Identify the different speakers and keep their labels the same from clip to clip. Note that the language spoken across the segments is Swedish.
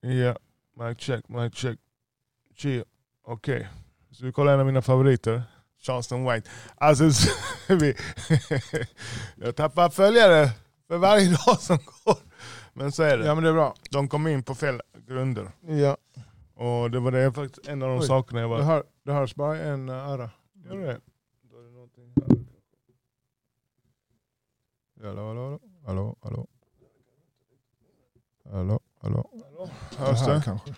Speaker 1: Ja, mic check, mic check. Chill. Okej. Så vi kollar en av mina favoriter. Charleston White. Alltså, så- vi- jag tappar följare för varje dag som går. Men så är det.
Speaker 2: Ja men det är bra.
Speaker 1: De kom in på fel grunder.
Speaker 2: Ja,
Speaker 1: Och det var det faktiskt en av de
Speaker 2: Oj.
Speaker 1: sakerna jag
Speaker 2: det,
Speaker 1: var...
Speaker 2: hör, det hörs bara en eh, öra.
Speaker 1: Gör det?
Speaker 2: Hallå, hallå, hallå, hallå. Hallå, hallå.
Speaker 1: Hörs
Speaker 2: Det här
Speaker 1: det?
Speaker 2: kanske.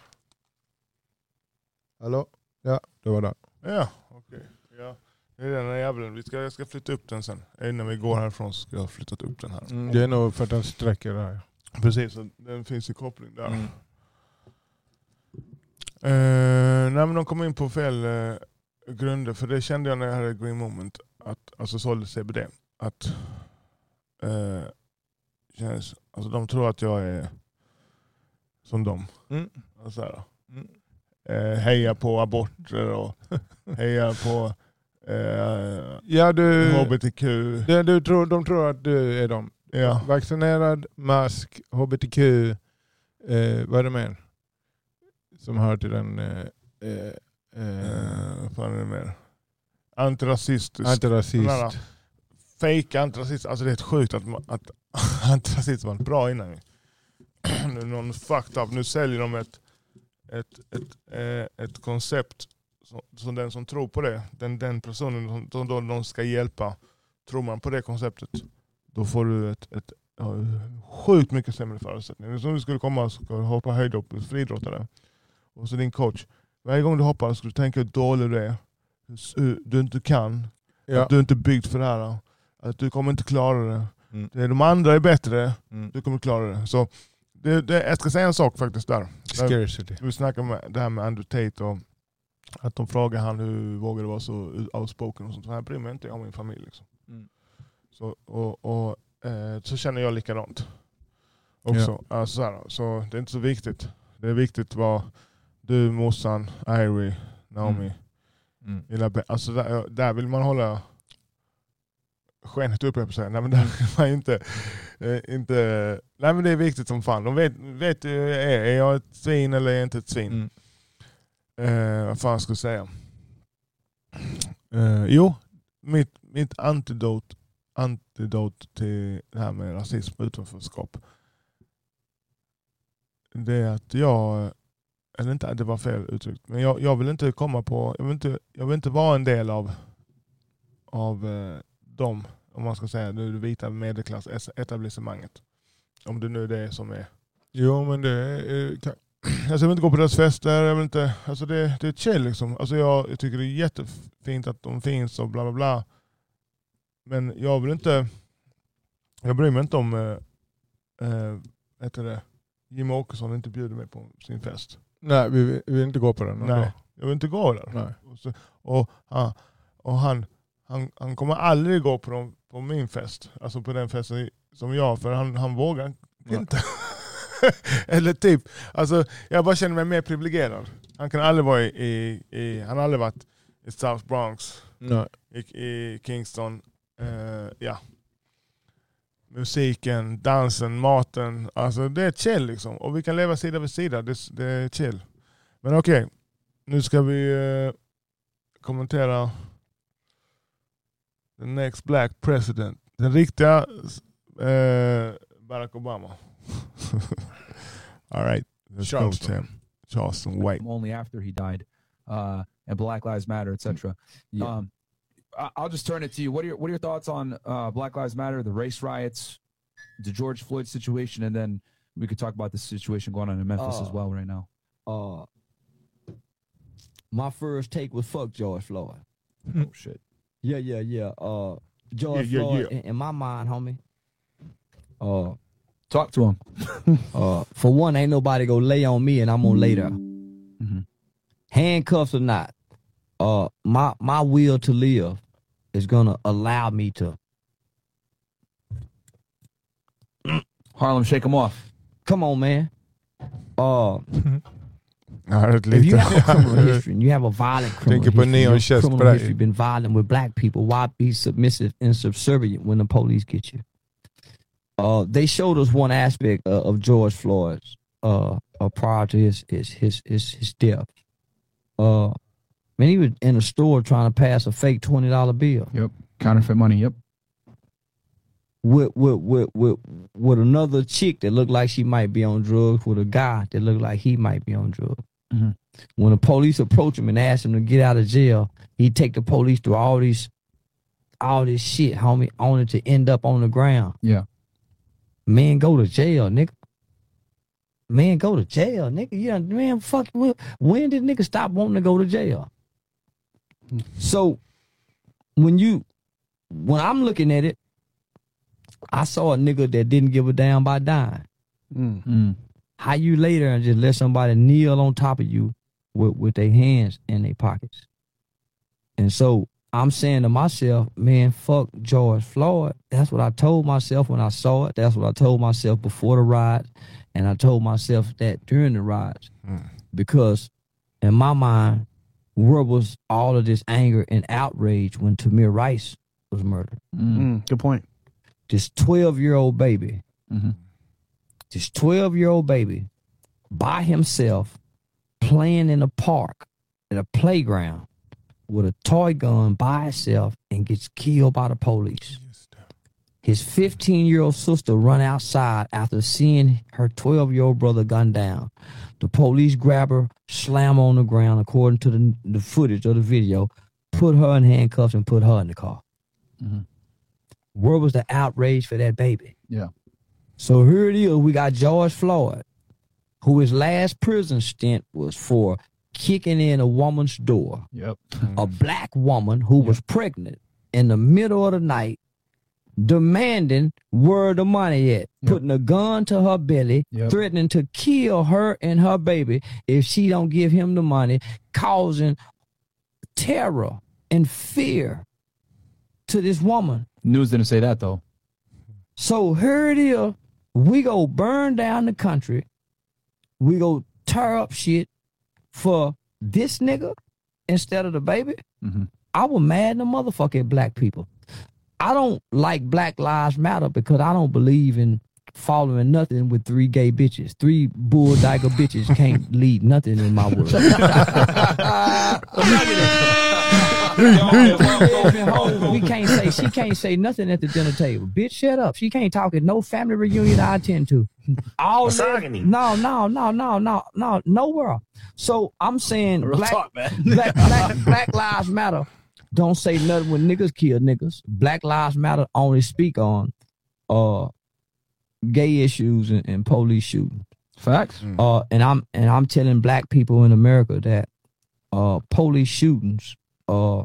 Speaker 2: Hallå? Ja, det var det.
Speaker 1: Ja, okej. Ja. Det är den här jäveln. Vi ska, jag ska flytta upp den sen. Innan vi går härifrån så ska jag ha flyttat upp den här.
Speaker 2: Mm, Det är nog för att den sträcker där.
Speaker 1: Precis, så den finns i koppling där.
Speaker 2: Mm.
Speaker 1: Eh, nej men de kom in på fel eh, grunder, för det kände jag när jag hade Green Moment, att, alltså sålde CBD. Att, eh, känns, alltså de tror att jag är som dem.
Speaker 2: Mm.
Speaker 1: Alltså, så här,
Speaker 2: Mm.
Speaker 1: eh, heja på aborter och heja på eh,
Speaker 2: Ja, du,
Speaker 1: hbtq.
Speaker 2: det, du tror, de tror att du är dem.
Speaker 1: Ja.
Speaker 2: Vaccinerad, mask, hbtq, eh, vad är det mer? Som hör till den... Eh, eh, eh,
Speaker 1: Eh, vad fan är det mer? Antirasistisk. Den
Speaker 2: antirasist.
Speaker 1: här- fejka antirasism. Alltså det är helt sjukt att, man- att antirasism var bra innan. nu är någon fucked up. Nu säljer de ett, ett, ett, eh, ett koncept som, som den som tror på det, den, den personen som, som då de ska hjälpa, tror man på det konceptet, då får du ett, ett ja, sjukt mycket sämre förutsättningar. Som du skulle komma och ska hoppa höjdhopp, friidrottare, och så din coach. Varje gång du hoppar ska du tänka hur dålig du är, hur s- hur du inte kan,
Speaker 2: Ja.
Speaker 1: att du är inte byggd för det här. Att du kommer inte klara det.
Speaker 2: Mm.
Speaker 1: det. De andra är bättre,
Speaker 2: Mm.
Speaker 1: du kommer klara det. Så det, det, jag ska säga en sak faktiskt där.
Speaker 2: Scarcity.
Speaker 1: Vi snackade med det här med Andrew Tate och att de frågar han hur vågar du vara så outspoken och sånt. Han bryr mig inte om min familj. Liksom.
Speaker 2: Mm.
Speaker 1: Så, och, och, eh, så känner jag likadant. Också. Alltså, så, här, så det är inte så viktigt. Det är viktigt vad du, morsan, Irie, Naomi,
Speaker 2: Mm. Mm.
Speaker 1: Lilla Be- alltså där, där vill man hålla skenet uppe på sig. Nej men där vill man inte, eh, inte... Nej men det är viktigt som fan. De vet, vet hur jag är. Är jag ett svin eller är jag inte ett svin?
Speaker 2: Mm.
Speaker 1: Eh, vad fan ska jag säga? Eh, jo, mitt, mitt antidote, antidote till det här med rasism och utanförskap. Det är att jag, eller inte, det var fel uttryckt, men jag, jag vill inte komma på, jag vill inte, jag vill inte vara en del av, av eh, dem, om man ska säga det det vita medelklassetablissemanget. Om det nu är det som är
Speaker 2: Jo men det är... eh, ka-
Speaker 1: Alltså jag vill inte gå på deras fester, jag vill inte, alltså det, det är chill liksom. Alltså jag, jag tycker det är jättefint att de finns och bla bla bla. Men jag vill inte, jag bryr mig inte om, eh, eh, vad heter det, Jimmie Åkesson inte bjuder mig på sin fest.
Speaker 2: Nej vi vill, vi vill inte gå på den. ändå.
Speaker 1: Nej, jag vill inte gå där.
Speaker 2: Nej.
Speaker 1: Och, så, och, han, och han, han, han kommer aldrig gå på, de, på min fest, alltså på den festen som jag, för han, han vågar
Speaker 2: Nej.
Speaker 1: inte. Eller typ, alltså, jag bara känner mig mer privilegierad. Han kan aldrig vara i, i, i han har aldrig varit i South Bronx,
Speaker 2: Nej.
Speaker 1: i, i Kingston. Eh, ja. Musiken, dansen, maten. Alltså det är chill liksom. Och vi kan leva sida vid sida. Det, det är chill. Men okej, nu ska vi eh, kommentera the next black president. Den riktiga eh, Barack Obama. All right, let's go
Speaker 2: Charleston.
Speaker 1: to him. Charleston White.
Speaker 3: only after he died, uh, and Black Lives Matter, etc.
Speaker 2: Yeah.
Speaker 3: Um, I- I'll just turn it to you. What are your What are your thoughts on uh, Black Lives Matter, the race riots, the George Floyd situation, and then we could talk about the situation going on in Memphis as
Speaker 4: Oh.
Speaker 3: well right now.
Speaker 4: uh my first take was fuck George Floyd.
Speaker 2: Hmm.
Speaker 3: Oh shit!
Speaker 4: Yeah, yeah, yeah. Uh George
Speaker 1: Yeah, yeah,
Speaker 4: Floyd In, in my mind, homie. Uh
Speaker 3: Talk to him.
Speaker 4: uh for one, ain't nobody gonna lay on me and I'm gonna lay there.
Speaker 3: Mhm.
Speaker 4: Handcuffs or not, uh my my will to live is gonna allow me to
Speaker 3: Harlem, shake him off.
Speaker 4: come on man. Uh
Speaker 1: Jag har ett
Speaker 4: if you
Speaker 1: litet...
Speaker 4: have a criminal history and you have a violent criminal
Speaker 2: Think you put
Speaker 4: history,
Speaker 2: knee on
Speaker 4: your
Speaker 2: chest,
Speaker 4: criminal
Speaker 2: but I-
Speaker 4: history been violent with black people, why be submissive and subservient when the police get you? Uh, they showed us one aspect uh, of George Floyd's uh, uh prior to his his his his, his death. Uh, man, he was in a store trying to pass a fake twenty dollar bill
Speaker 3: Yep. Counterfeit money. Yep.
Speaker 4: with with with with with another chick that looked like she might be on drugs with a guy that looked like he might be on drugs.
Speaker 3: Mhm.
Speaker 4: When the police approach him and ask him to get out of jail, he take the police through all these all this shit, homie, only to end up on the ground.
Speaker 3: Yeah.
Speaker 4: Man, go to jail, nigga. Man, go to jail, nigga. Yeah, man, fuck. When, when did nigga stop wanting to go to jail? So, when you, when I'm looking at it, I saw a nigga that didn't give a damn by dying.
Speaker 2: Mm.
Speaker 3: Mm.
Speaker 4: How you lay there and just let somebody kneel on top of you with, with their hands in their pockets? And so I'm saying to myself, man, fuck George Floyd. That's what I told myself when I saw it. That's what I told myself before the ride. And I told myself that during the rides.
Speaker 1: Mm.
Speaker 4: Because in my mind, where was all of this anger and outrage when Tamir Rice was murdered?
Speaker 3: Mm.
Speaker 5: Mm, good point.
Speaker 4: This 12 year old baby
Speaker 3: Mhm.
Speaker 4: this 12 year old baby by himself playing in a park at a playground with a toy gun by himself and gets killed by the police. His 15 year old sister run outside after seeing her 12 year old brother gunned down. The police grab her, slam her on the ground, according to the, the footage of the video, put her in handcuffs and put her in the car.
Speaker 3: Mhm.
Speaker 4: Where was the outrage for that baby?
Speaker 3: Yeah.
Speaker 4: So here it is. We got George Floyd, who his last prison stint was for kicking in a woman's door
Speaker 3: Yep.
Speaker 4: a black woman who was pregnant in the middle of the night demanding where the money at putting a gun to her belly
Speaker 3: Yep.
Speaker 4: threatening to kill her and her baby if she don't give him the money causing terror and fear to this woman
Speaker 3: News didn't say that though.
Speaker 4: so here it is. We go burn down the country. We go tear up shit for this nigga instead of the baby.
Speaker 3: Mhm.
Speaker 4: I was mad in the motherfucker at black people. I don't like Black Lives Matter because I don't believe in following nothing with three gay bitches. Three bull diaper bitches can't lead nothing in my world. we can't say she can't say nothing at the dinner table. Bitch, shut up. She can't talk at no family reunion I attend to. All
Speaker 5: Misogyny.
Speaker 4: no, no, no, no, no, no, nowhere. So I'm saying
Speaker 5: Real
Speaker 4: black,
Speaker 5: talk, man.
Speaker 4: black, black, black lives matter. Don't say nothing when niggas kill niggas. Black lives matter only speak on uh gay issues and, and police shooting
Speaker 3: Facts.
Speaker 4: uh, and I'm and I'm telling black people in America that uh, police shootings uh,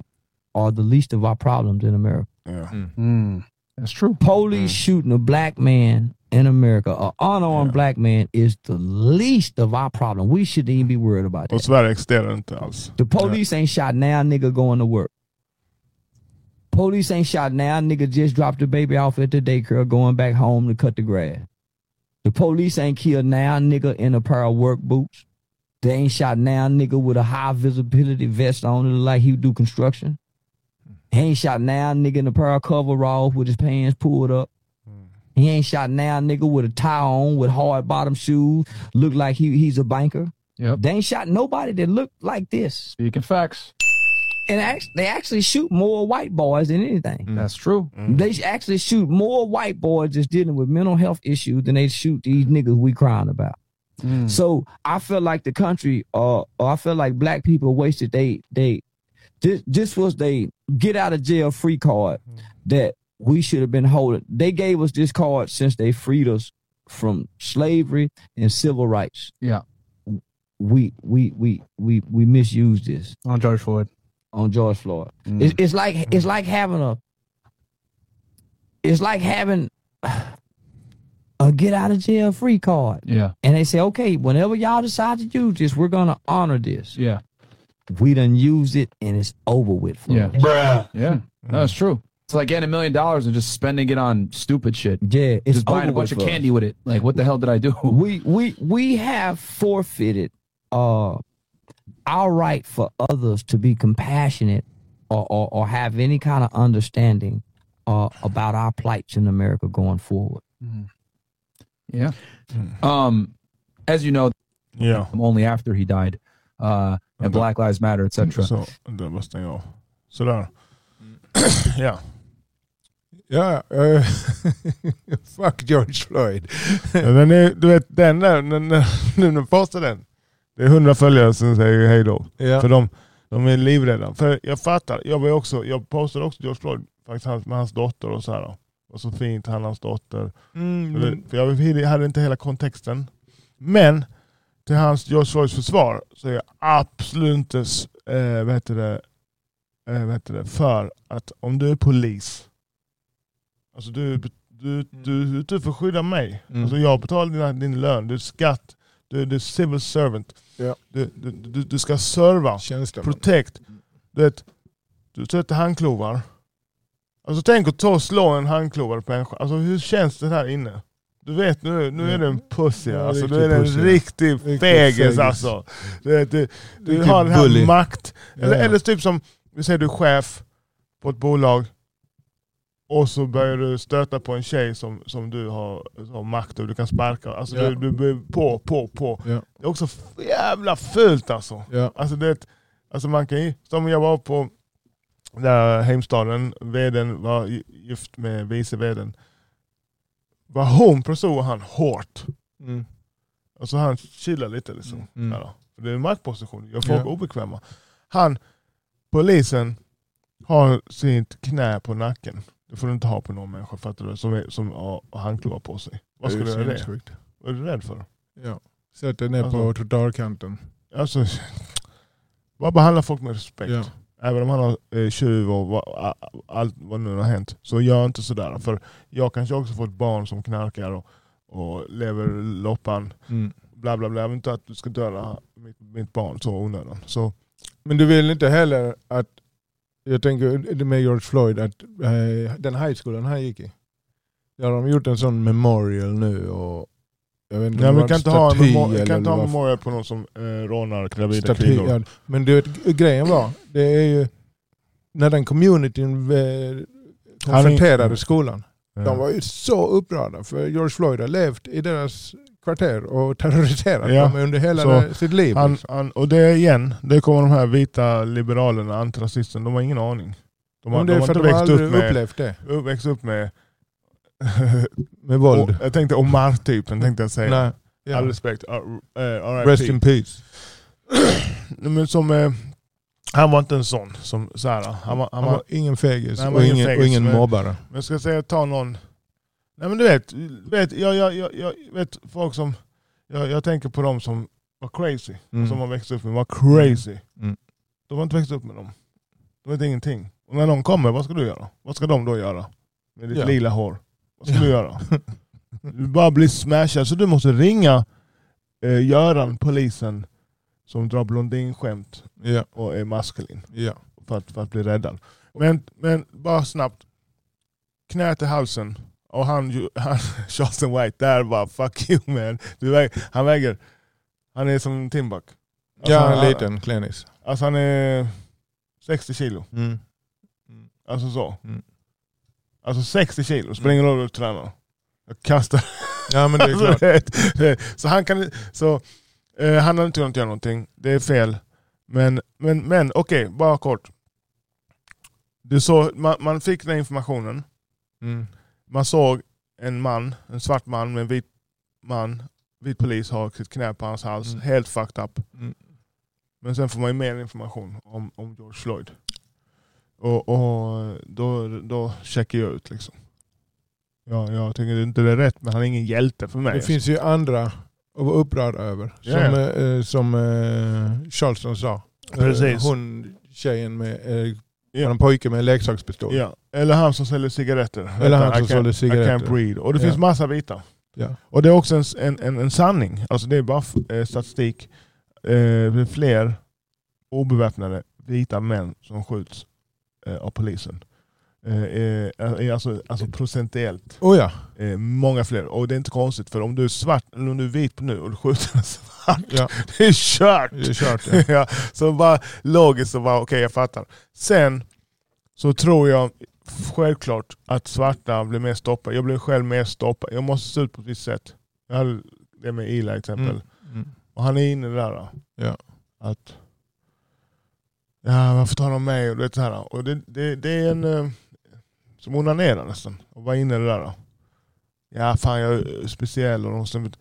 Speaker 4: are the least of our problems in America.
Speaker 1: Yeah.
Speaker 5: Mm.
Speaker 3: That's true.
Speaker 4: Police shooting a black man in America, an unarmed black man, is the least of our problem. We shouldn't even be worried about
Speaker 1: Och
Speaker 4: that.
Speaker 1: Sverige existerar inte alls.
Speaker 4: The police ain't shot now, nigga going to work. Police ain't shot now, nigga just dropped the baby off at the daycare going back home to cut the grass. The police ain't killed now, nigga in a pair of work boots. They ain't shot now, nigga with a high visibility vest on it look like he do construction. He ain't shot now, nigga in a pair of coveralls with his pants pulled up. He ain't shot now, nigga with a tie on with hard bottom shoes, look like he he's a banker.
Speaker 3: Yep.
Speaker 4: They ain't shot nobody that looked like this
Speaker 3: Speaking facts.
Speaker 4: and act, they actually shoot more white boys than
Speaker 5: Mm.
Speaker 4: anything.
Speaker 3: That's true.
Speaker 4: They actually shoot more white boys that's dealing with mental health issues than they shoot these niggas we crying about.
Speaker 5: Mm.
Speaker 4: So I feel like the country, uh, or I feel like black people wasted they they this this was they get out of jail free card that we should have been holding. They gave us this card since they freed us from slavery and civil rights.
Speaker 3: Yeah.
Speaker 4: we we we we we misused this
Speaker 5: On George Floyd.
Speaker 4: on George Floyd.
Speaker 5: Mm.
Speaker 4: It's, it's like it's like having a it's like having a get out of jail free card.
Speaker 3: Yeah.
Speaker 4: And they say, okay, whenever y'all decide to use this, we're gonna honor this.
Speaker 3: Yeah.
Speaker 4: We done used it and it's over with. For
Speaker 3: Yeah.
Speaker 4: us.
Speaker 3: Yeah. No, that's true. It's like getting a million dollars and just spending it on stupid shit.
Speaker 4: yeah. It's
Speaker 3: just buying
Speaker 4: over
Speaker 3: a bunch of
Speaker 4: with for us.
Speaker 3: candy with it. Like, what the hell did I do?
Speaker 4: We we we have forfeited uh our right for others to be compassionate or or, or have any kind of understanding uh, about our plights in America going forward.
Speaker 3: Um, as you know,
Speaker 1: Ja.
Speaker 3: only after he died, uh, and
Speaker 1: Okay.
Speaker 3: Black Lives Matter, etc.
Speaker 1: Så, det bara stänga av. Sådär. ja.
Speaker 2: Ja, eh, fuck George Floyd.
Speaker 1: Ja, Den är, du vet den där, den, den, nu när jag postar den. Det är hundra följare som säger hej då.
Speaker 2: Ja.
Speaker 1: För de, de är livrädda. För jag fattar, jag, var ju också, jag postade också George Floyd faktiskt hans, med hans dotter och så här. då. Och så fint, han och hans dotter.
Speaker 2: Mm,
Speaker 1: Eller,
Speaker 2: men,
Speaker 1: För jag hade inte hela kontexten. Men till hans George Floyds försvar så är jag absolut inte s- eh, vad heter det, eh, vad heter det, för att om du är polis, alltså du, du, du, du får skydda mig.
Speaker 2: Mm.
Speaker 1: Alltså jag betalar dina, din lön, du är skatt, du, du är civil servant.
Speaker 2: Ja.
Speaker 1: Du, du, du, du ska serva,
Speaker 2: känslan.
Speaker 1: protect. Du vet, du sätter handklovar. Alltså tänk att ta och slå en handklovad människa. Alltså hur känns det här inne? Du vet nu, nu är det en pussy.
Speaker 2: Ja,
Speaker 1: Alltså
Speaker 2: riktig
Speaker 1: du är en
Speaker 2: pussy.
Speaker 1: riktig
Speaker 2: Riktig
Speaker 1: fegis
Speaker 2: fegis.
Speaker 1: alltså. Du, vet, du, du
Speaker 2: Riktig
Speaker 1: har den här
Speaker 2: bully.
Speaker 1: makt. Eller,
Speaker 2: Ja.
Speaker 1: eller typ som, vi säger du är chef på ett bolag. Och så börjar du stöta på en tjej som, som du har, har makt över. Du kan sparka. Alltså
Speaker 2: Ja.
Speaker 1: du, du blir på, på, på.
Speaker 2: Ja.
Speaker 1: Det är också f- jävla fult alltså.
Speaker 2: Ja.
Speaker 1: Alltså, det, alltså man kan ju, som jag var på där Heimstaden, vdn var gi- gift med vice vdn. Var hon försåg han hårt.
Speaker 2: Mm.
Speaker 1: Alltså han chillade lite liksom.
Speaker 2: Mm.
Speaker 1: Ja, då. För det är en maktposition, gör folk
Speaker 2: Ja.
Speaker 1: obekväma. Han, polisen, har sitt knä på nacken. Det får du inte ha på någon människa fattar du? Som, är, som har handklovar på sig. Vad skulle du göra det?
Speaker 2: sinnessjukt.
Speaker 1: Vad är du rädd för?
Speaker 2: Ja. Sätter ner på
Speaker 1: Alltså.
Speaker 2: trottoarkanten.
Speaker 1: Alltså, bara behandla folk med respekt.
Speaker 2: Ja.
Speaker 1: Även om han har eh, tjuv och vad, a- allt vad nu har hänt. Så gör inte
Speaker 2: Mm.
Speaker 1: sådär. För jag kanske också får ett barn som knarkar och, och lever loppan.
Speaker 2: Mm.
Speaker 1: Bla bla bla. Jag vill inte att du ska döda mitt, mitt barn så onödan. Så,
Speaker 2: Men du vill inte heller att, jag tänker med George Floyd, att eh, den high schoolen han gick i, där har de gjort en sån memorial nu och jag vet inte
Speaker 1: nej,
Speaker 2: om
Speaker 1: men vi
Speaker 2: Mm, det var
Speaker 1: kan inte
Speaker 2: en
Speaker 1: ha en
Speaker 2: staty
Speaker 1: memorial, kan
Speaker 2: eller
Speaker 1: inte ha en
Speaker 2: vad
Speaker 1: memorial på någon som eh, rånar gravida
Speaker 2: Staty,
Speaker 1: kvinnor.
Speaker 2: ja. Men du vet, grejen var, det är ju när den communityn eh, konfronterade skolan.
Speaker 1: Eh.
Speaker 2: De var ju så upprörda för George Floyd har levt i deras kvarter och terroriserat
Speaker 1: Ja.
Speaker 2: dem under hela
Speaker 1: Så
Speaker 2: det- sitt liv.
Speaker 1: Han,
Speaker 2: liksom.
Speaker 1: han, och det är igen, det kommer de här vita liberalerna, antirasisterna, de har ingen aning. De har,
Speaker 2: Men det
Speaker 1: de
Speaker 2: är
Speaker 1: har
Speaker 2: för
Speaker 1: inte
Speaker 2: att de
Speaker 1: växt
Speaker 2: aldrig
Speaker 1: upp med,
Speaker 2: upplevt det
Speaker 1: växt upp med
Speaker 2: med våld.
Speaker 1: Och, jag tänkte Omar-typen tänkte jag säga.
Speaker 2: Nej.
Speaker 1: All
Speaker 2: Ja.
Speaker 1: respekt. R- eh, RIP.
Speaker 2: Rest in peace.
Speaker 1: Nej, Men som, eh, han var inte en sån. Som, så här, han var, han
Speaker 2: Han
Speaker 1: var,
Speaker 2: var ingen fegis
Speaker 1: Nej, han
Speaker 2: och,
Speaker 1: var ingen
Speaker 2: ingen,
Speaker 1: fegis,
Speaker 2: och ingen
Speaker 1: men-
Speaker 2: mobbare.
Speaker 1: men jag ska säga ta någon... Nej men du vet, vet jag, jag, jag, jag vet folk som... Jag, jag tänker på dem som var crazy.
Speaker 2: Mm.
Speaker 1: Som har växt upp med var crazy.
Speaker 2: Mm.
Speaker 1: De har inte växt upp med dem. De vet ingenting. Och när någon kommer, vad ska du göra? Vad ska de då göra? Med ditt
Speaker 2: Ja.
Speaker 1: lila hår. Vad ska
Speaker 2: Ja.
Speaker 1: du göra? Du bara blir smashad. Så du måste ringa eh, Göran, polisen, som drar blondinskämt
Speaker 2: ja,
Speaker 1: och är maskulin
Speaker 2: ja.
Speaker 1: för att, för att bli räddad. Men, men bara snabbt, knä till halsen. Och han, ju- han Charleston White, där bara fuck you man. Du väger, han väger, han är som Timbuk. Alltså,
Speaker 2: ja,
Speaker 1: han,
Speaker 2: en liten klenis.
Speaker 1: Alltså han är 60 kilo.
Speaker 2: Mm.
Speaker 1: Alltså så.
Speaker 2: Mm.
Speaker 1: Alltså 60 kilo, spelar ingen roll hur du tränar. Jag kastar
Speaker 2: Ja men det är
Speaker 1: Alltså,
Speaker 2: klart.
Speaker 1: det- det- så han kan så, eh, han har inte kunnat göra någonting. Det är fel. Men, men, men okej, bara kort. Du såg, man, man fick den informationen.
Speaker 2: Mm.
Speaker 1: Man såg en man, en svart man med en vit man. Vit polis har sitt knä på hans hals.
Speaker 2: Mm.
Speaker 1: Helt fucked up.
Speaker 2: Mm.
Speaker 1: Men sen får man ju mer information om, om George Floyd. Och, och då, då checkar jag ut liksom. Ja, jag tycker inte det är rätt, men han är ingen hjälte för mig. alltså.
Speaker 2: Det finns ju andra att vara upprörd över. Som,
Speaker 1: Ja, ja.
Speaker 2: eh, som eh, Charleston sa. Eh,
Speaker 1: Precis.
Speaker 2: Hon tjejen med eh,
Speaker 1: Ja.
Speaker 2: en pojke med en leksakspistol.
Speaker 1: Ja, eller han som säljer cigaretter.
Speaker 2: Eller han
Speaker 1: Vänta,
Speaker 2: som
Speaker 1: I can't-
Speaker 2: sålde
Speaker 1: I
Speaker 2: cigaretter.
Speaker 1: can't breathe. Och det finns
Speaker 2: Ja.
Speaker 1: massa bitar.
Speaker 2: Ja.
Speaker 1: Och det är också en, en, en, en sanning. Alltså det är bara f- eh, statistik. Eh, det är fler obeväpnade vita män som skjuts eh, av polisen. Eh, eh, alltså, alltså procentuellt.
Speaker 2: Oh ja.
Speaker 1: Eh, många fler. Och det är inte konstigt för om du är svart, eller om du är vit nu och du skjuter en svart,
Speaker 2: Ja.
Speaker 1: det är kört!
Speaker 2: Det är kört. Ja.
Speaker 1: ja, så bara logiskt så bara okej jag fattar. Sen så tror jag självklart att svarta blir mer stoppade. Jag blev själv mer stoppad. Jag måste se ut på ett visst sätt. Jag hade det med Ila exempel.
Speaker 2: Mm.
Speaker 1: Och han är inne där. Då.
Speaker 2: Ja.
Speaker 1: Att, ja, varför tar de mig? Och det, så här, då. och det, det, det är en eh, som onanerar nästan. Och var inne i det där. Då. Ja, fan jag är speciell. Och de, som-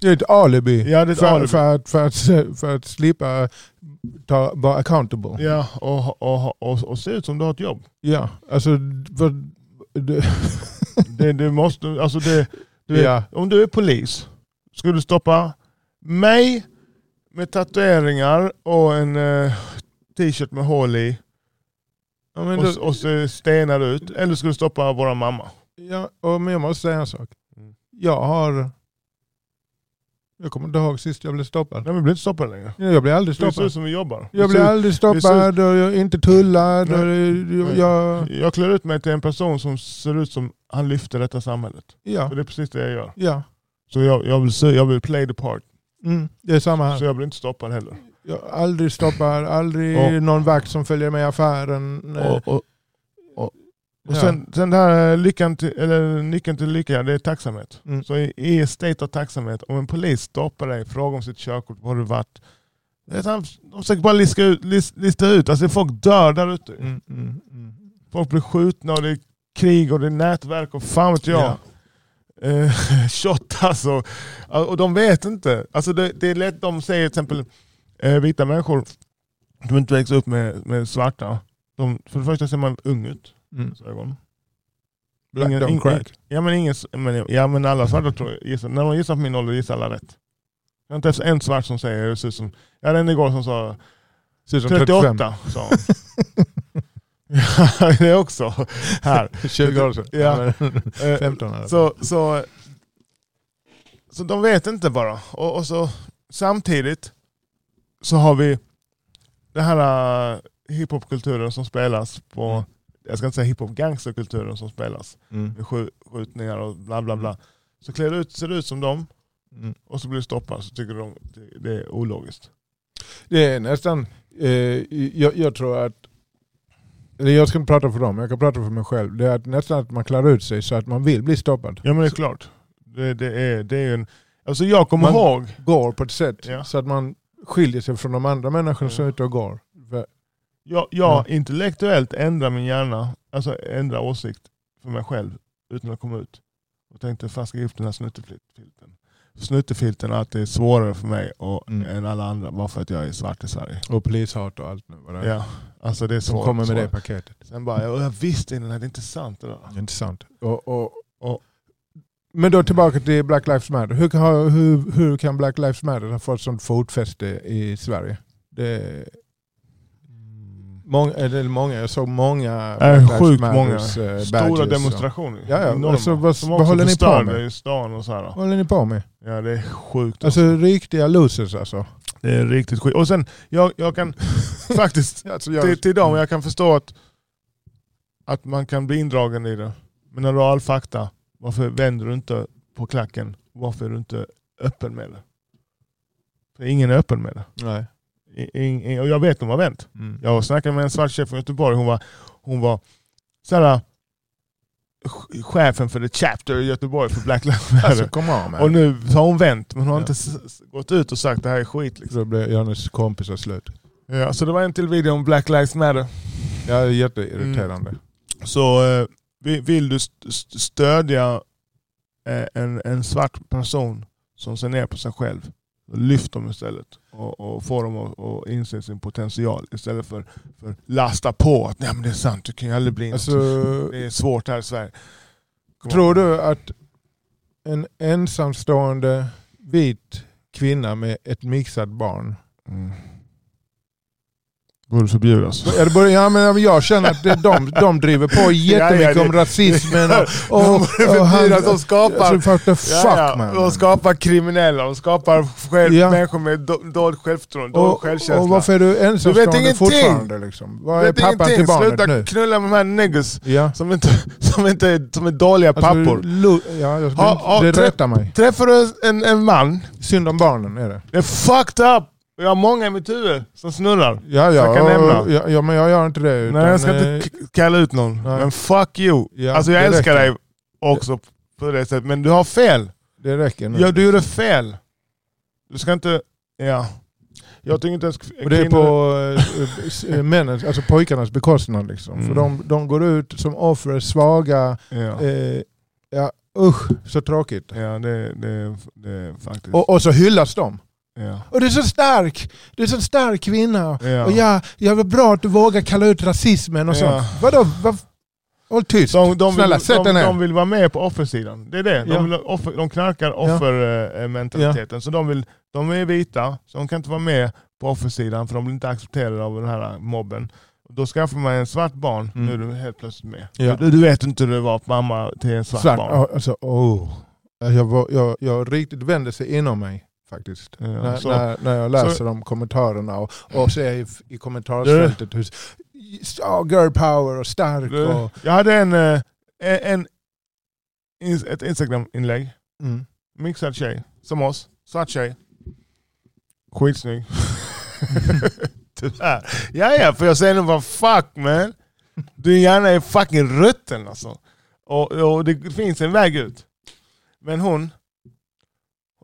Speaker 2: Det är ett alibi.
Speaker 1: ja, det är ett
Speaker 2: för,
Speaker 1: alibi.
Speaker 2: För, att, för, att, för att slippa ta, vara accountable. Ja,
Speaker 1: Ja, och, och, och, och se ut som du har ett jobb.
Speaker 2: alltså... För, det,
Speaker 1: Det, det måste, alltså det, du vet,
Speaker 2: Ja.
Speaker 1: Om du är polis, skulle du stoppa mig med tatueringar och en eh, t-shirt med hål i
Speaker 2: ja, men
Speaker 1: och,
Speaker 2: då,
Speaker 1: s- och se stenar ut? Eller skulle du stoppa våra mamma?
Speaker 2: ja, och, men jag måste säga en sak.
Speaker 1: Mm.
Speaker 2: Jag har... Jag kommer inte ihåg sist jag blev stoppad.
Speaker 1: Nej, vi blir inte stoppade längre.
Speaker 2: Ja, Jag blir aldrig
Speaker 1: Det ser
Speaker 2: stoppad.
Speaker 1: ut som vi jobbar.
Speaker 2: Jag blir aldrig
Speaker 1: det ser
Speaker 2: stoppad och jag är inte tullad.
Speaker 1: Nej.
Speaker 2: Och jag, jag,
Speaker 1: jag klär ut mig till en person som ser ut som han lyfter detta samhället.
Speaker 2: ja,
Speaker 1: Och det är precis det jag gör.
Speaker 2: ja.
Speaker 1: Så jag, jag, vill, se- jag vill play the part.
Speaker 2: Mm, det är samma här.
Speaker 1: Så jag blir inte stoppad heller.
Speaker 2: Jag aldrig stoppar, aldrig
Speaker 1: Och-
Speaker 2: någon vakt som följer med i affären. eh,
Speaker 1: Och, och, och, och
Speaker 2: Ja.
Speaker 1: sen, sen det här eh, lyckan till, eller nyckeln till lycka, det är tacksamhet.
Speaker 2: Mm.
Speaker 1: Så i, i state av tacksamhet, om en polis stoppar dig, frågar om sitt körkort, var har du varit? Det är så här, De försöker bara lista ut, lis- lista ut. Alltså folk dör där ute.
Speaker 2: Mm, mm, mm.
Speaker 1: Folk blir skjutna och det är krig och det är nätverk och fan vet jag.
Speaker 2: Ja.
Speaker 1: Eh, shottas och, och de vet inte. Alltså det, det är lätt, de säger till exempel eh, vita människor som inte växer upp med, med svarta. De, för det första ser man ung ut.
Speaker 2: Mm.
Speaker 1: Så ögon.
Speaker 2: Black
Speaker 1: Ingen-
Speaker 2: don't
Speaker 1: ingen-
Speaker 2: crack.
Speaker 1: Ja men, ingen, men, ja, men alla svarta tror jag, gissar, när de gissar på min ålder gissar alla rätt. Jag har inte ens en svart som säger det ser ut som, jag hade en igår som sa
Speaker 2: Ser ut som
Speaker 1: 38 sa hon. ja, det är också här.
Speaker 2: 20 år sedan.
Speaker 1: Ja.
Speaker 2: Men,
Speaker 1: Eh,
Speaker 2: 15 eller
Speaker 1: Så, så, så de vet inte bara. Och, och så samtidigt så har vi den här äh, hiphopkulturen som spelas på,
Speaker 2: Mm.
Speaker 1: jag ska inte säga hiphop, gangsterkulturen som spelas.
Speaker 2: Mm.
Speaker 1: Med skj- skjutningar och bla bla bla. Så klär det ut, ser det ut som dem
Speaker 2: Mm.
Speaker 1: och så blir du stoppad så tycker de det- det är ologiskt.
Speaker 2: Det är nästan, eh, jag, jag tror att, eller jag ska inte prata för dem, jag kan prata för mig själv. Det är att nästan att man klarar ut sig så att man vill bli stoppad.
Speaker 1: Ja men det är klart. Det, det är, det är ju en, alltså jag kommer
Speaker 2: Man-
Speaker 1: ihåg,
Speaker 2: Går på ett sätt
Speaker 1: Ja. Mm.
Speaker 2: så att man skiljer sig från de andra människorna som är ute och går. För-
Speaker 1: jag, jag
Speaker 2: Ja.
Speaker 1: intellektuellt ändrar min hjärna, alltså ändrar åsikt för mig själv utan att komma ut. Och tänkte fan ska jag ge upp den här snuttefilten. Snuttefilten att det är svårare för mig och,
Speaker 2: Mm.
Speaker 1: än alla andra bara för att jag är svart i Sverige.
Speaker 2: Och polishat och allt nu. vad det är.
Speaker 1: Ja, alltså det är
Speaker 2: Som
Speaker 1: svårt.
Speaker 2: kommer med det
Speaker 1: svårt.
Speaker 2: paketet.
Speaker 1: Sen bara, jag, jag visste innan det här, det är inte sant det där.
Speaker 2: Intressant. Och, och,
Speaker 1: Och-
Speaker 2: men då tillbaka till Black Lives Matter. Hur, kan- har- hur, hur kan Black Lives Matter ha fått sånt fotfäste i Sverige? Det, många, eller många, jag såg många
Speaker 1: Äh,
Speaker 2: Black Lives
Speaker 1: sjukt
Speaker 2: Matters,
Speaker 1: många.
Speaker 2: eh,
Speaker 1: Stora
Speaker 2: badges.
Speaker 1: demonstrationer.
Speaker 2: Ja, ja,
Speaker 1: Enorma.
Speaker 2: alltså, vad-
Speaker 1: Som
Speaker 2: vad
Speaker 1: också
Speaker 2: håller ni på
Speaker 1: förstörde
Speaker 2: med?
Speaker 1: i stan och så här.
Speaker 2: Vad håller ni på med?
Speaker 1: Ja, det är sjukt.
Speaker 2: Alltså riktiga losers alltså.
Speaker 1: Det är riktigt skit. Och sen, jag, jag kan faktiskt,
Speaker 2: alltså
Speaker 1: till, till dem, jag kan förstå att, att man kan bli indragen i det. Men när du har all fakta, varför vänder du inte på klacken? Varför är du inte öppen med det? För ingen är öppen med det.
Speaker 2: Nej.
Speaker 1: I- in- in- och jag vet de har vänt.
Speaker 2: Mm.
Speaker 1: Jag snackade med en svart chef från Göteborg. Hon var, hon var så här, ch- chefen för the chapter i Göteborg för Black Lives Matter.
Speaker 2: Alltså kom av med
Speaker 1: och nu har hon vänt, men hon har
Speaker 2: Ja.
Speaker 1: inte s- s- gått ut och sagt det här är skit. Liksom.
Speaker 2: Då blev Jannes kompisar slut.
Speaker 1: Ja, så det var en till video om Black Lives Matter.
Speaker 2: Ja, det är jätteirriterande.
Speaker 1: Mm. Så eh, vi- vill du st- st- stödja eh, en, en svart person som ser ner på sig själv, lyft dem istället och, och få dem att att inse sin potential istället för, för lasta på att Nej, men det är sant, du kan ju aldrig bli något.
Speaker 2: Alltså,
Speaker 1: Det är svårt här i Sverige. Kom
Speaker 2: tror
Speaker 1: igen.
Speaker 2: du att en ensamstående vit kvinna med ett mixat barn
Speaker 1: Mm. Borde förbjudas.
Speaker 2: Ja, det börjar- ja, men ja, men jag känner att det, de, de driver på jättemycket
Speaker 1: Ja, ja, det-
Speaker 2: om rasismen och, och,
Speaker 1: De
Speaker 2: och,
Speaker 1: borde förbjudas, de skapar
Speaker 2: Alltså, what the fuck man.
Speaker 1: De skapar kriminella, de skapar själv,
Speaker 2: Ja.
Speaker 1: människor med do- dåligt självförtroende, dålig
Speaker 2: och,
Speaker 1: självkänsla.
Speaker 2: och varför är du ensamstående
Speaker 1: ingenting.
Speaker 2: fortfarande? Liksom? Vad är
Speaker 1: Vet
Speaker 2: pappan
Speaker 1: ingenting.
Speaker 2: till barnet
Speaker 1: Sluta
Speaker 2: nu?
Speaker 1: knulla med de här niggas
Speaker 2: Ja.
Speaker 1: som inte, som inte är, som är dåliga
Speaker 2: Alltså,
Speaker 1: pappor.
Speaker 2: lo, ja, jag,
Speaker 1: Ha- ha-
Speaker 2: det
Speaker 1: trä-
Speaker 2: rättar mig.
Speaker 1: Träffar du en, en man,
Speaker 2: Synd om barnen är det.
Speaker 1: det är fucked up. Jag har många i mitt huvud som snurrar.
Speaker 2: Ja, ja,
Speaker 1: Jag kan nämna.
Speaker 2: och- ja, ja, men jag gör inte det. Utan,
Speaker 1: Nej, jag ska
Speaker 2: eh,
Speaker 1: inte k- kalla ut någon,
Speaker 2: nej.
Speaker 1: men fuck you.
Speaker 2: Ja,
Speaker 1: alltså jag
Speaker 2: det
Speaker 1: älskar
Speaker 2: räcker.
Speaker 1: dig också på det sättet, men du har fel.
Speaker 2: Det räcker nu.
Speaker 1: Ja, du gjorde fel. Du ska inte... Ja. Jag tycker inte ens
Speaker 2: Och det är på eh, eh, männens, alltså pojkarnas bekostnad. Liksom.
Speaker 1: Mm.
Speaker 2: För de, de går ut som offer, svaga.
Speaker 1: Ja,
Speaker 2: Eh, ja, usch, så tråkigt.
Speaker 1: ja det, det, det är faktiskt...
Speaker 2: Och, och så hyllas de.
Speaker 1: ja.
Speaker 2: Och du är så stark! Du är så stark kvinna.
Speaker 1: Ja.
Speaker 2: Och ja, ja, vad bra att du vågar kalla ut rasismen och
Speaker 1: Ja.
Speaker 2: sånt. Vadå? Vad- Håll tyst.
Speaker 1: De, de,
Speaker 2: Snälla,
Speaker 1: vill,
Speaker 2: sätt
Speaker 1: de,
Speaker 2: den här.
Speaker 1: de vill vara med på offersidan. Det är det. De,
Speaker 2: Ja.
Speaker 1: vill offer, de knarkar offermentaliteten. Så de, vill, de är vita, så de kan inte vara med på offersidan för de blir inte accepterade av den här mobben. Då skaffar man en svart barn,
Speaker 2: Mm.
Speaker 1: nu är du helt plötsligt med.
Speaker 2: Ja.
Speaker 1: Du, du vet inte hur det var att mamma till en svart,
Speaker 2: Svart.
Speaker 1: barn.
Speaker 2: Ja, Alltså, oh. jag, var- jag, jag riktigt vände sig inom mig faktiskt. eh,
Speaker 1: Ja,
Speaker 2: när,
Speaker 1: så-
Speaker 2: när, när jag läser de kommentarerna och, och ser i, i kommentarsfältet hur oh, girl power och stark
Speaker 1: Du,
Speaker 2: och...
Speaker 1: Jag hade en, eh, en, en, ins- ett Instagram-inlägg.
Speaker 2: Mm.
Speaker 1: Mixad tjej, som oss. Svart tjej. Skitsnygg. Tyvärr. Ja, ja, för jag säger nu vad fuck man. Din hjärna är fucking rutten alltså. Och, och det finns en väg ut. Men hon,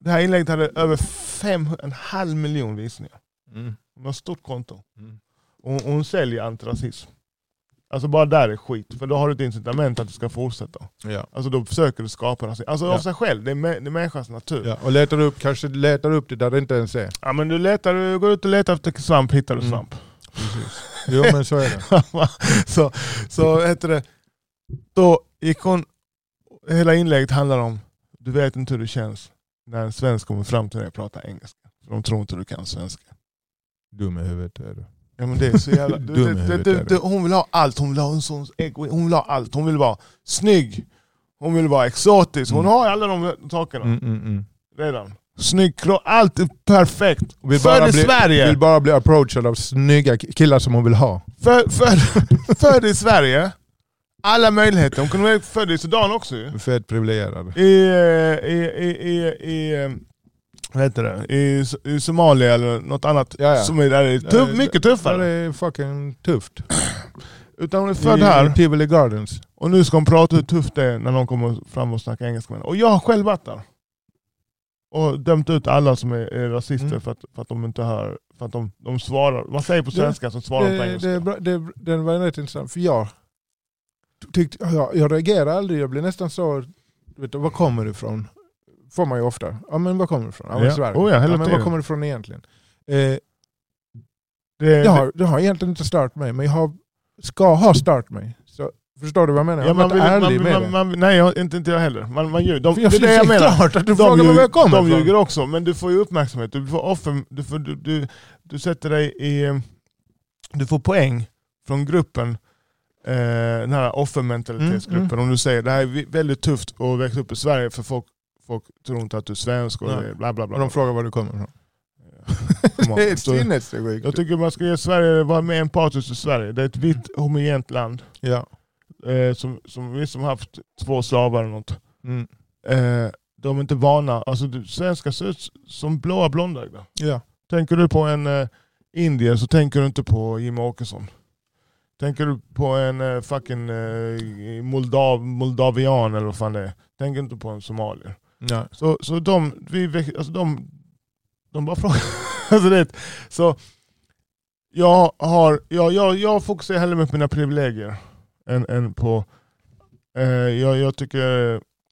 Speaker 1: det här inlägget hade över fem, en halv miljon visningar.
Speaker 2: Mm.
Speaker 1: Hon har stort konto.
Speaker 2: Mm.
Speaker 1: Och hon, hon säljer antirasism. Alltså bara där är skit, för då har du ett incitament att du ska fortsätta.
Speaker 2: Ja.
Speaker 1: Alltså då försöker du skapa rasism. Alltså av
Speaker 2: Ja.
Speaker 1: sig själv, det är, mä- det är människans natur.
Speaker 2: Ja. Och letar upp, kanske letar upp det där det inte ens är.
Speaker 1: Ja men du letar, du går ut och letar efter svamp, hittar du
Speaker 2: Mm.
Speaker 1: svamp.
Speaker 2: Jo men så är det.
Speaker 1: så, så heter det, då gick hon, hela inlägget handlar om, du vet inte hur det känns när en svensk kommer fram till dig och pratar engelska. För de tror inte du kan svenska.
Speaker 2: Dum i huvudet är du.
Speaker 1: Ja men det är så jävla... Du,
Speaker 2: Dum i
Speaker 1: du, du,
Speaker 2: huvudet
Speaker 1: du,
Speaker 2: är du.
Speaker 1: hon vill ha allt, hon vill ha en sån ego, hon vill ha allt. Hon vill vara snygg, hon vill vara exotisk, hon
Speaker 2: Mm.
Speaker 1: har alla de sakerna
Speaker 2: Mm, mm, mm.
Speaker 1: redan. Snygg kropp, allt är perfekt.
Speaker 2: Vill bara
Speaker 1: Född i
Speaker 2: bli-
Speaker 1: Sverige!
Speaker 2: Vill bara bli approachad av snygga killar som hon vill ha.
Speaker 1: Född för, född i Sverige, alla möjligheter. Hon kunde vara född i Sudan också ju.
Speaker 2: Fett privilegierad.
Speaker 1: I, eh, i, i, i, i eh, vad heter det? I, S- i Somalia eller något annat
Speaker 2: Ja, ja.
Speaker 1: som är där är tuff, mycket
Speaker 2: Eh, Det
Speaker 1: tuffare.
Speaker 2: är fucking tufft.
Speaker 1: Utan hon är född
Speaker 2: I-
Speaker 1: här
Speaker 2: I Tivoli Gardens.
Speaker 1: och nu ska hon prata hur tufft det är när någon kommer fram och snackar engelska med henne. Och jag har själv varit där. Och dömt ut alla som är, är rasister
Speaker 2: Mm.
Speaker 1: för, att, för att de inte hör, för att de, de svarar. Vad säger på svenska som svarar på
Speaker 2: det,
Speaker 1: engelska?
Speaker 2: det, är bra- det, den var rätt intressant, för jag, tyckte, jag, jag reagerar aldrig. Jag blir nästan så, vet du, var kommer du ifrån? Får man ju ofta. Ja men var kommer du ifrån? Ja, men
Speaker 1: Ja.
Speaker 2: Sverige.
Speaker 1: Oh ja, hela
Speaker 2: ja, men var
Speaker 1: tiden.
Speaker 2: kommer du ifrån egentligen? Eh,
Speaker 1: Det-
Speaker 2: det, har, det har egentligen inte stört mig, men jag har, ska ha stört mig. Så, förstår du vad jag menar?
Speaker 1: Ja,
Speaker 2: jag
Speaker 1: man
Speaker 2: har
Speaker 1: vill,
Speaker 2: varit ärlig
Speaker 1: man,
Speaker 2: med
Speaker 1: man,
Speaker 2: det.
Speaker 1: man, nej, jag- inte, inte jag heller. Man, man ljuger. De,
Speaker 2: För
Speaker 1: det är det
Speaker 2: det
Speaker 1: jag menar.
Speaker 2: klart att du frågar mig var jag kommer
Speaker 1: de
Speaker 2: ifrån.
Speaker 1: ljuger också, men du får ju uppmärksamhet. Du får offer, du, får, du, du, du sätter dig i... eh, Du får poäng från gruppen, eh, den här offermentalitetsgruppen.
Speaker 2: Mm,
Speaker 1: Om du säger det här är vi- väldigt tufft att växa upp i Sverige för folk, folk tror inte att du är svensk och
Speaker 2: Ja.
Speaker 1: det är bla bla bla.
Speaker 2: Och de frågar var du kommer ifrån.
Speaker 1: Come on.
Speaker 2: Det är
Speaker 1: Så-
Speaker 2: sinnessjukt.
Speaker 1: jag tycker man ska ge Sverige, vara mer empatisk till Sverige. Det är ett vitt, homogent land.
Speaker 2: Ja.
Speaker 1: Eh, som, som vi som haft två slavar eller något.
Speaker 2: Mm.
Speaker 1: Eh, de är inte vana. Alltså, du- svenskar ser ut som blåa blondögda.
Speaker 2: Ja.
Speaker 1: Tänker du på en eh, indier så tänker du inte på Jimmy Åkesson. Tänker du på en eh, fucking eh, Moldav, moldavian eller vad fan det är. Tänker inte på en somalier.
Speaker 2: Ja.
Speaker 1: Så, så de, vi, väx- alltså de, de bara frågar. alltså, det, så jag, har, jag, jag, jag fokuserar hellre med mina privilegier än, än på... Eh, jag, jag, tycker,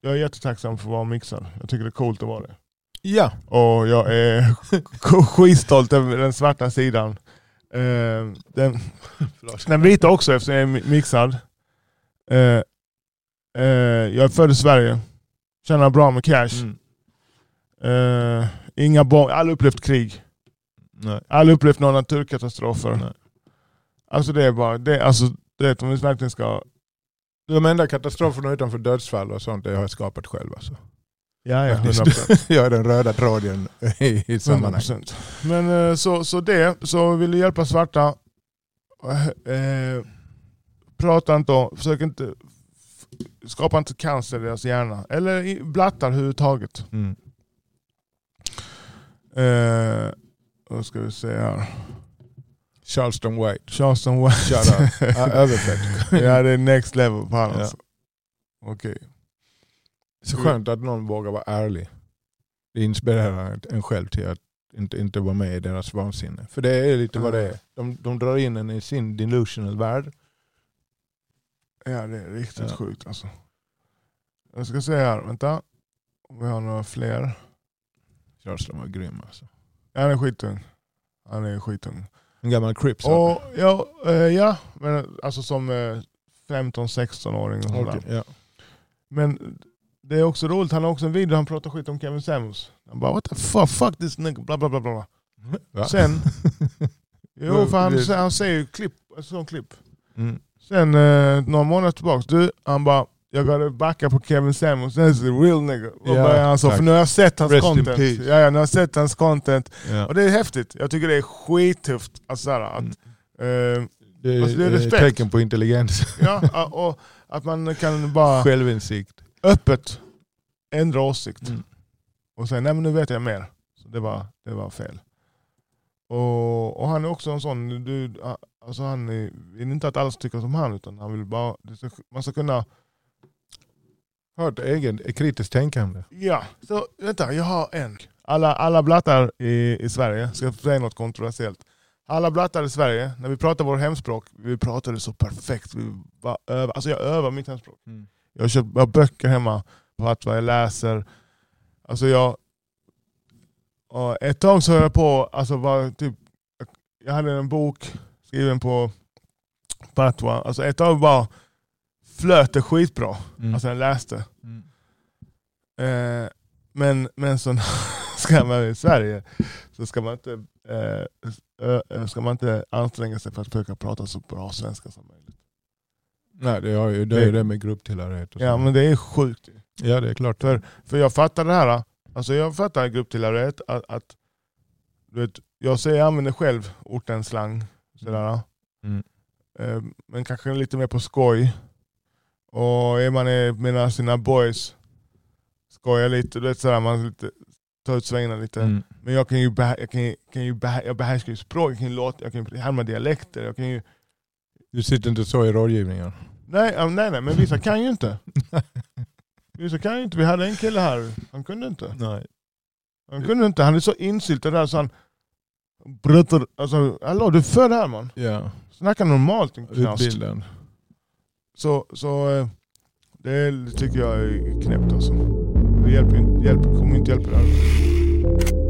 Speaker 1: jag är jättetacksam för att vara mixad. Jag tycker det är coolt att vara det.
Speaker 2: ja.
Speaker 1: Och jag är sk- skitstolt över den svarta sidan. Eh, den, den vita också eftersom jag är mi- mixad. Eh, eh, jag är född i Sverige. Tjänar bra med cash.
Speaker 2: Mm.
Speaker 1: Eh, inga bomb, alla upplevt krig.
Speaker 2: Nej.
Speaker 1: Alla upplevt några naturkatastrofer.
Speaker 2: Nej.
Speaker 1: Alltså det är bara, det, är- alltså, du vet, om vi verkligen ska...
Speaker 2: De enda katastroferna utanför dödsfall och sånt det har jag skapat själv. Alltså.
Speaker 1: Ja,
Speaker 2: ja,
Speaker 1: 100%.
Speaker 2: Jag är den röda tråden i, i sammanhanget.
Speaker 1: 100%. Men eh, så, så det, så vill du hjälpa svarta, eh, eh, prata inte om, försök inte, skapa inte cancer i deras hjärna. Eller i- blattar överhuvudtaget.
Speaker 2: Mm.
Speaker 1: Eh, vad ska vi säga här?
Speaker 2: Charleston White,
Speaker 1: Charleston White.
Speaker 2: shut up. Ja, Överfett.
Speaker 1: ja det är next level på honom.
Speaker 2: Ja.
Speaker 1: alltså. Okej.
Speaker 2: Så skönt att någon vågar vara ärlig. Det inspirerar en själv till att inte, inte vara med i deras vansinne. För det är lite vad det är. De, de drar in en i sin delusional värld.
Speaker 1: Ja det är riktigt
Speaker 2: Ja.
Speaker 1: sjukt alltså. Jag ska se här, vänta. Om Vi har några fler.
Speaker 2: Körslön var grym alltså.
Speaker 1: Ja, han är skittung. Han är skittung.
Speaker 2: En gammal Crips.
Speaker 1: Och, ja, eh, ja, men alltså som eh, 15-16-åring och sådär.
Speaker 2: Okej, ja.
Speaker 1: Men det är också roligt, han har också en video där han pratar skit om Kevin Samuels. Han bara what the fuck, fuck this nigga, bla bla bla. bla.
Speaker 2: Va?
Speaker 1: Sen- Jo
Speaker 2: Men
Speaker 1: för han,
Speaker 2: det-
Speaker 1: han säger ju klipp, ett sånt klipp.
Speaker 2: Mm.
Speaker 1: Sen eh, några månader tillbaka, du, han bara jag gotta backa på Kevin Samuels, that's the real nigga. Och
Speaker 2: Ja,
Speaker 1: bara, han sa,
Speaker 2: tack.
Speaker 1: för nu har jag sett hans
Speaker 2: Rest in
Speaker 1: content.
Speaker 2: peace.
Speaker 1: Ja, ja, nu har jag sett hans content.
Speaker 2: Ja.
Speaker 1: Och det är häftigt, jag tycker det är skittufft. Alltså, såhär, att,
Speaker 2: Mm.
Speaker 1: eh,
Speaker 2: Det är,
Speaker 1: Alltså, det är
Speaker 2: eh,
Speaker 1: respekt.
Speaker 2: tecken på intelligens.
Speaker 1: ja, och att man kan bara
Speaker 2: Självinsikt.
Speaker 1: öppet ändra åsikt.
Speaker 2: Mm.
Speaker 1: Och säga nej men nu vet jag mer. Så det, var, det var fel. Och, och han är också en sån, du, alltså han är, vill inte att alla ska tycka som han utan han vill bara, det ska, man ska kunna,
Speaker 2: Har ett egen, ett kritiskt tänkande.
Speaker 1: ja, så vänta jag har en. Alla, alla blattar i, i Sverige, ska jag säga något kontroversiellt. Alla blattar i Sverige, när vi pratar vårt hemspråk, vi pratar det så perfekt. Vi bara övar. Alltså jag övar mitt hemspråk. Jag har köpt jag har böcker hemma på att vad jag läser. Alltså jag... Och ett tag så höll jag på, alltså bara typ, jag hade en bok skriven på patwa. Alltså ett tag bara flöt det skitbra.
Speaker 2: Mm.
Speaker 1: Alltså jag läste.
Speaker 2: Mm.
Speaker 1: Eh, men, men så ska man i Sverige så ska man inte, eh, ö- ö- ska man inte anstränga sig för att försöka prata så bra svenska som möjligt.
Speaker 2: Nej, det är ju det, är ju det med grupptillhörighet och
Speaker 1: Ja
Speaker 2: så.
Speaker 1: men det är sjukt.
Speaker 2: ja, det är klart.
Speaker 1: För- För jag fattar det här. Alltså jag fattar grupptillhörighet. Att, att, du vet, jag säger jag använder själv ortens slang. Sådär.
Speaker 2: Mm.
Speaker 1: Eh, Men kanske lite mer på skoj. Och är man eh, med sina boys, skojar lite. Du vet, sådär, man lite, tar ut svängarna lite.
Speaker 2: Mm.
Speaker 1: Men jag kan ju, behä- jag kan ju, kan ju behä- jag behärskar ju språk, jag kan ju låta, jag kan ju härma dialekter. Jag kan ju,
Speaker 2: Du sitter inte så i rådgivningen.
Speaker 1: nej, ja, nej, nej, men vissa kan ju inte. Vissa kan ju inte. Vi hade en kille här, han kunde inte.
Speaker 2: Nej.
Speaker 1: Han kunde inte, han är så insyltad där så han... Brötter, alltså hallå du är född här man.
Speaker 2: Ja,
Speaker 1: Snacka normalt din knas.
Speaker 2: utbildad.
Speaker 1: Så, så eh, det tycker jag är knäppt alltså. Det hjälper, ju inte- hjälper, kommer inte hjälpa det här.